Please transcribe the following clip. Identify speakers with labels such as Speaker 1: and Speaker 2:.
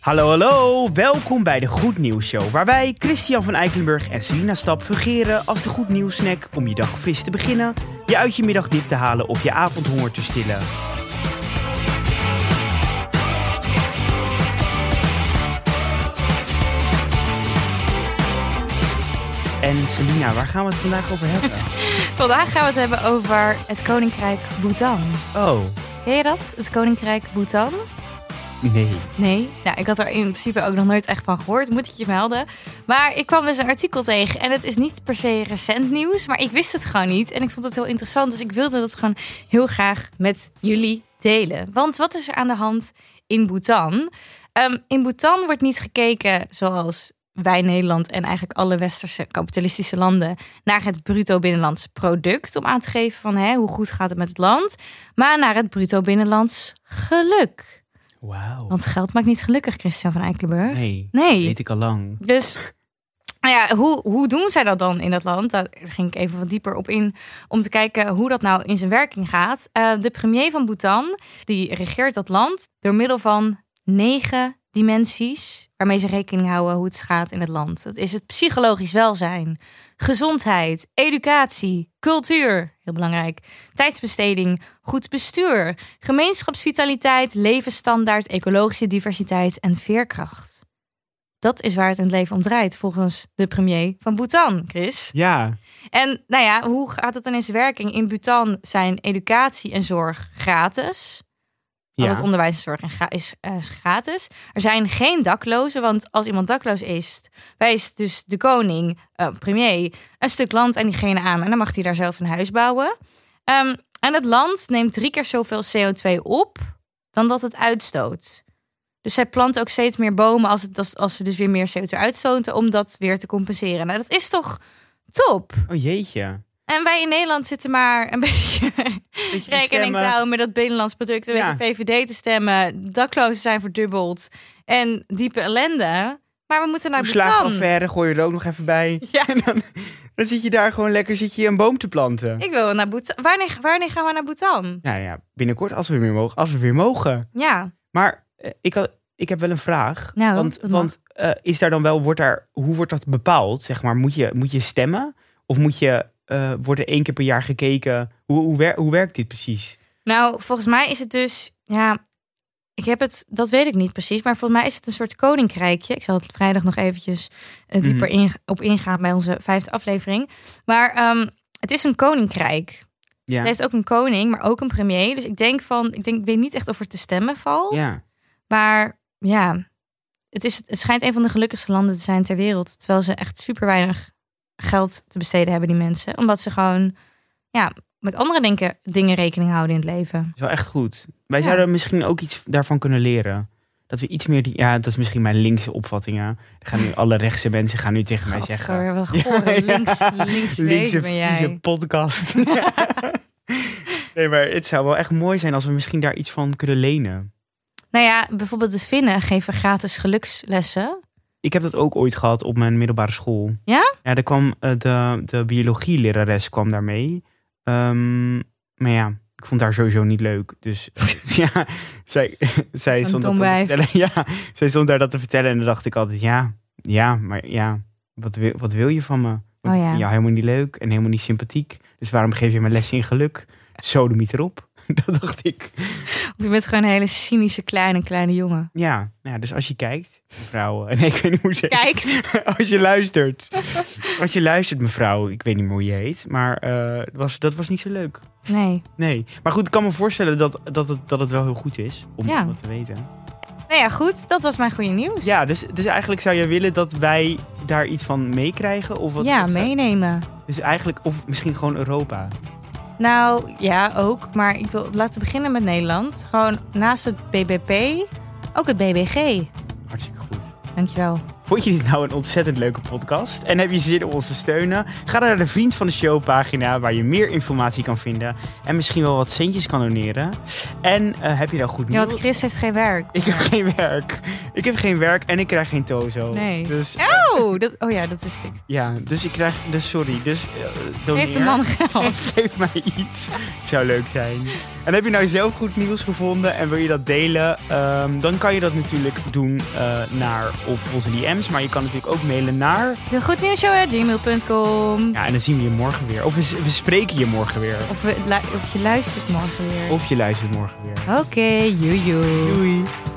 Speaker 1: Hallo, hallo. Welkom bij de Goed Nieuws Show, waar wij, Christian van Eikelenburg en Selina Stap fungeren als de Goed Nieuws snack om je dag fris te beginnen, je uit je middag dip te halen of je avondhonger te stillen. En Selina, waar gaan we het vandaag over hebben?
Speaker 2: Vandaag gaan we het hebben over het Koninkrijk Bhutan.
Speaker 1: Oh,
Speaker 2: Ken je dat? Het Koninkrijk Bhutan?
Speaker 1: nee.
Speaker 2: Nee? Nou, ik had er in principe ook nog nooit echt van gehoord, moet ik je melden. Maar ik kwam dus een artikel tegen en het is niet per se recent nieuws, maar ik wist het gewoon niet. En ik vond het heel interessant, dus ik wilde dat gewoon heel graag met jullie delen. Want wat is er aan de hand in Bhutan? Ehm, in Bhutan wordt niet gekeken zoals wij Nederland en eigenlijk alle westerse kapitalistische landen naar het bruto binnenlands product om aan te geven van hè, hoe goed gaat het met het land, maar naar het bruto binnenlands geluk.
Speaker 1: Wauw.
Speaker 2: Want geld maakt niet gelukkig, Christian van Eikelenburg.
Speaker 1: Nee,
Speaker 2: Nee.
Speaker 1: weet ik al lang.
Speaker 2: Dus nou ja, hoe, hoe doen zij dat dan in dat land? Daar ging ik even wat dieper op in om te kijken hoe dat nou in zijn werking gaat. Eh, de premier van Bhutan, die regeert dat land door middel van negen dimensies waarmee ze rekening houden hoe het gaat in het land. Dat is het psychologisch welzijn, gezondheid, educatie, cultuur, heel belangrijk, tijdsbesteding, goed bestuur, gemeenschapsvitaliteit, levensstandaard, ecologische diversiteit en veerkracht. Dat is waar het in het leven om draait, volgens de premier van Bhutan, Chris.
Speaker 1: Ja,
Speaker 2: En nou ja, hoe gaat het dan in zijn werking? In Bhutan zijn educatie en zorg gratis. Al het
Speaker 1: ja.
Speaker 2: onderwijs en zorg en ga- is, eh, is gratis. Er zijn geen daklozen, want als iemand dakloos is, wijst dus de koning, eh, premier, een stuk land aan diegene aan. En dan mag hij daar zelf een huis bouwen. Ehm, en het land neemt drie keer zoveel CO2 op dan dat het uitstoot. Dus zij planten ook steeds meer bomen als, het, als, als ze dus weer meer CO2 uitstoten, om dat weer te compenseren. Nou, dat is toch top?
Speaker 1: Oh jeetje.
Speaker 2: En wij in Nederland zitten maar een beetje
Speaker 1: Beetje te
Speaker 2: rekening te
Speaker 1: stemmen.
Speaker 2: houden met dat binnenlands product. Een
Speaker 1: Ja.
Speaker 2: beetje VVD te stemmen. Daklozen zijn verdubbeld. En diepe ellende. Maar we moeten naar Bhutan.
Speaker 1: Verslagenaffaire gooi je er ook nog even bij.
Speaker 2: Ja.
Speaker 1: En dan, dan zit je daar gewoon lekker zit je een boom te planten.
Speaker 2: Ik wil naar Bhutan. Wanneer, wanneer gaan we naar Bhutan?
Speaker 1: Nou ja, binnenkort als we weer mogen. Als we weer mogen.
Speaker 2: Ja.
Speaker 1: Maar eh, ik, had, ik heb wel een vraag.
Speaker 2: Nou,
Speaker 1: want
Speaker 2: dat mag.
Speaker 1: want eh, is daar dan wel, wordt daar, hoe wordt dat bepaald? Zeg maar, moet je, moet je stemmen? Of moet je, eh, wordt er één keer per jaar gekeken? Hoe, hoe, wer- hoe werkt dit precies?
Speaker 2: Nou, volgens mij is het dus... Ja, ik heb het... Dat weet ik niet precies. Maar volgens mij is het een soort koninkrijkje. Ik zal het vrijdag nog eventjes eh, dieper
Speaker 1: Mhm.
Speaker 2: in, op ingaan bij onze vijfde aflevering. Maar ehm, het is een koninkrijk.
Speaker 1: Ja.
Speaker 2: Het heeft ook een koning, maar ook een premier. Dus ik denk van, ik, denk, ik weet niet echt of er te stemmen valt.
Speaker 1: ja.
Speaker 2: Maar ja, het, is, het schijnt een van de gelukkigste landen te zijn ter wereld. Terwijl ze echt super weinig geld te besteden hebben, die mensen. Omdat ze gewoon ja, met andere denken, dingen rekening houden in het leven.
Speaker 1: is wel echt goed. Wij
Speaker 2: Ja.
Speaker 1: zouden misschien ook iets daarvan kunnen leren. Dat we iets meer die. Ja, dat is misschien mijn linkse opvattingen. Er Gaan nu alle rechtse mensen gaan nu tegen mij zeggen.
Speaker 2: Gadver, wat een gore
Speaker 1: Ja, ja.
Speaker 2: links, links,
Speaker 1: Linkse
Speaker 2: wezen ben
Speaker 1: vieze
Speaker 2: jij.
Speaker 1: podcast. nee, maar het zou wel echt mooi zijn als we misschien daar iets van kunnen lenen.
Speaker 2: Nou ja, bijvoorbeeld de Finnen geven gratis gelukslessen.
Speaker 1: Ik heb dat ook ooit gehad op mijn middelbare school.
Speaker 2: Ja?
Speaker 1: Ja, daar kwam eh, de, de biologielerares kwam daarmee. Ehm, maar ja, ik vond haar sowieso niet leuk. Dus ja, zij, zij,
Speaker 2: Zo'n
Speaker 1: stond dat
Speaker 2: dom
Speaker 1: dan te
Speaker 2: wijf.
Speaker 1: vertellen. Ja, zij stond daar dat te vertellen en dan dacht ik altijd, ja, ja, maar ja, wat wil, wat wil je van me? Want
Speaker 2: Oh
Speaker 1: ik
Speaker 2: ja.
Speaker 1: vind jou helemaal niet leuk en helemaal niet sympathiek. Dus waarom geef je me les in geluk? Sodomiet erop. Dat dacht ik.
Speaker 2: Je bent gewoon een hele cynische kleine, kleine jongen.
Speaker 1: Ja, nou ja, dus als je kijkt, mevrouw... eh, Nee, ik weet niet hoe ze...
Speaker 2: Kijk.
Speaker 1: Als je luistert. Als je luistert, mevrouw. Ik weet niet meer hoe je heet. Maar eh, was, dat was niet zo leuk.
Speaker 2: Nee.
Speaker 1: Nee. Maar goed, ik kan me voorstellen dat, dat, het, dat het wel heel goed is. Om
Speaker 2: Ja.
Speaker 1: dat te weten.
Speaker 2: Nou ja, goed. Dat was mijn goede nieuws.
Speaker 1: Ja, dus, dus eigenlijk zou jij willen dat wij daar iets van meekrijgen? Of wat,
Speaker 2: ja,
Speaker 1: wat zou-
Speaker 2: meenemen.
Speaker 1: Dus eigenlijk, of misschien gewoon Europa.
Speaker 2: Nou ja, ook. Maar ik wil laten we beginnen met Nederland. Gewoon naast het BBP ook het BBG.
Speaker 1: Hartstikke goed.
Speaker 2: Dankjewel.
Speaker 1: Vond je dit nou een ontzettend leuke podcast? En heb je zin om ons te steunen? Ga dan naar de Vriend van de Show pagina waar je meer informatie kan vinden. En misschien wel wat centjes kan doneren. En eh, heb je nou goed
Speaker 2: Ja,
Speaker 1: nieuws?
Speaker 2: want Chris heeft geen werk.
Speaker 1: Ik heb geen werk. Ik heb geen werk en ik krijg geen tozo.
Speaker 2: Nee.
Speaker 1: Dus
Speaker 2: Oh, dat, oh ja, dat is dit.
Speaker 1: ja, dus ik krijg... Dus sorry, dus eh doneer.
Speaker 2: Heeft een man geld.
Speaker 1: Geef mij iets. Het zou leuk zijn. En heb je nou zelf goed nieuws gevonden en wil je dat delen? Ehm, dan kan je dat natuurlijk doen eh, naar op onze DM's. Maar je kan natuurlijk ook mailen naar.
Speaker 2: De goednieuwsshow.gmail.com.
Speaker 1: Ja, en dan zien we je morgen weer. Of we, we spreken je morgen weer.
Speaker 2: Of, we lu- of je luistert morgen weer.
Speaker 1: Of je luistert morgen weer.
Speaker 2: Oké, joejoe.
Speaker 1: Doei.